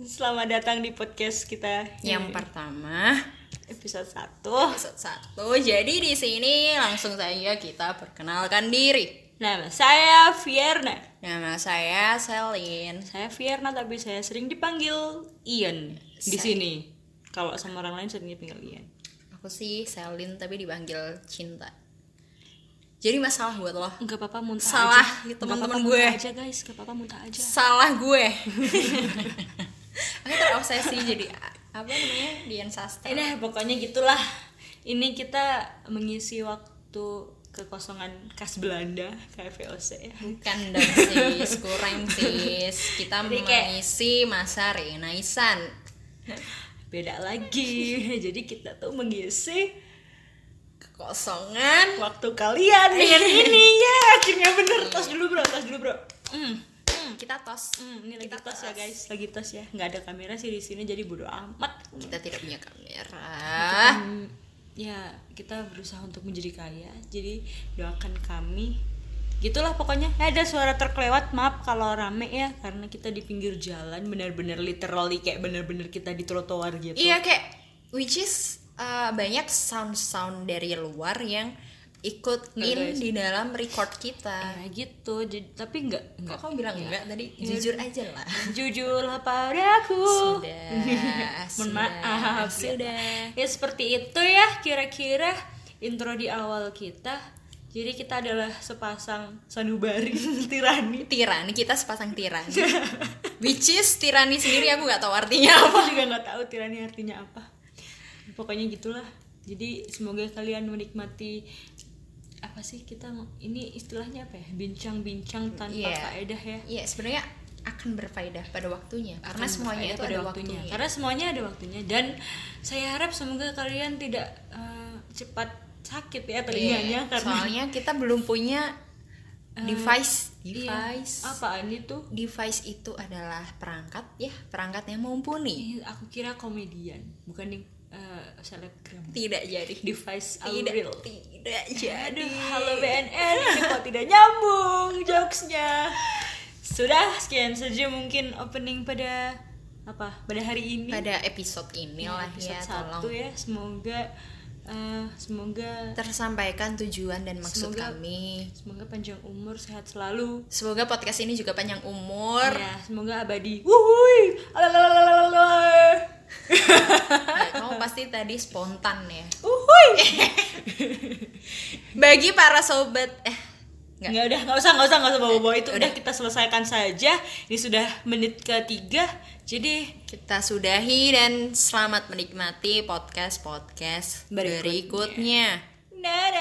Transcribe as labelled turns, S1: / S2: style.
S1: Selamat datang di podcast kita
S2: Yang pertama,
S1: episode 1
S2: episode satu. Jadi di sini langsung saja kita perkenalkan diri.
S1: Nama Nah, saya Vierna
S2: Nama saya Selin.
S1: Saya Vierna tapi saya sering dipanggil Ian di
S2: Saya-
S1: sini Kalau sama orang lain sering dipanggil Ian
S2: Aku sih Selin tapi dipanggil Cinta. Jadi masalah buat lo.
S1: Enggak apa-apa muntah
S2: Salah,
S1: aja.
S2: teman-teman
S1: Nggak apa-apa,
S2: gue.
S1: muntah aja guys, enggak apa-apa muntah aja
S2: Salah gue. Aku terobsesi jadi apa namanya? Dian Sastra.
S1: Nah pokoknya gitulah Ini kita mengisi waktu kekosongan khas Belanda kayak VOC ya
S2: Bukan dong sis, kurang sis. Kita
S1: Jadi kayak-
S2: mengisi masa renaisan.
S1: Beda lagi Jadi kita tuh mengisi
S2: Kekosongan
S1: waktu kalian dengan ini ya akhirnya bener tos dulu bro tos dulu bro hmm.
S2: Hmm, kita tos.
S1: Hmm, ini lagi
S2: Kita
S1: tos ya
S2: tos.
S1: guys lagi tos ya nggak ada kamera sih di sini jadi bodo amat
S2: Kita tidak punya kamera.
S1: Hmm, ya kita berusaha untuk menjadi kaya jadi doakan kami gitulah pokoknya Eh, ada suara terkelewat maaf kalau rame ya karena kita di pinggir jalan benar-benar literally kayak benar-benar kita di trotoar gitu
S2: Iya kayak which is uh, banyak sound-sound dari luar yang ikut
S1: Nggak,
S2: in
S1: guys.
S2: di dalam record kita. Iya.
S1: Nah, gitu jadi tapi nggak
S2: Eh, Kok
S1: nggak
S2: kamu bilang enggak tadi? Jujur aja lah.
S1: jujurlah padaku
S2: Sudah.
S1: Mohon
S2: sudah,
S1: maaf
S2: Iya. Sudah.
S1: Ya seperti itu ya kira-kira intro di awal kita. Jadi kita adalah sepasang sanubari tirani.
S2: Tirani kita sepasang tirani. which is tirani sendiri aku nggak tahu artinya apa.
S1: Aku juga nggak tahu tirani artinya apa. Pokoknya gitulah. Jadi semoga kalian menikmati apa sih kita ng- ini istilahnya apa ya? Bincang-bincang tanpa
S2: Iya.
S1: faedah ya.
S2: Iya, sebenarnya akan berfaedah pada waktunya karena
S1: Akan
S2: semuanya
S1: berfaedah
S2: itu ada waktunya.
S1: Karena semuanya ada waktunya dan saya harap semoga kalian tidak eh, cepat sakit ya telinganya
S2: Iya,
S1: karena
S2: soalnya kita belum punya device Eh, device
S1: Iya. apaan itu?
S2: device itu adalah perangkat ya perangkat yang mumpuni
S1: Ih, aku kira komedian, bukan di eh, selebgram.
S2: tidak jadi
S1: Device
S2: tidak
S1: Auril.
S2: tidak jadi
S1: Aduh, halo BNN, ini kok tidak nyambung jokesnya. Sudah sekian saja mungkin opening pada apa? Pada hari ini. Iya,
S2: pada episode inilah
S1: episode
S2: ya
S1: satu
S2: tolong
S1: ya. Semoga eh, semoga
S2: tersampaikan tujuan dan maksud
S1: Semoga-
S2: kami
S1: semoga panjang umur sehat selalu.
S2: semoga podcast ini juga panjang umur
S1: Ya, semoga abadi. Wuhui. Alalalalalalalala.
S2: Ya, kamu pasti tadi spontan ya
S1: Wuhui.
S2: bagi para sobat eh nggak
S1: Nggak udah, nggak usah, nggak usah, nggak usah bawa-bawa itu. Udah kita selesaikan saja. Ini sudah menit ketiga. Jadi
S2: kita sudahi dan selamat menikmati podcast podcast
S1: Berikutnya.
S2: berikutnya.
S1: dadah.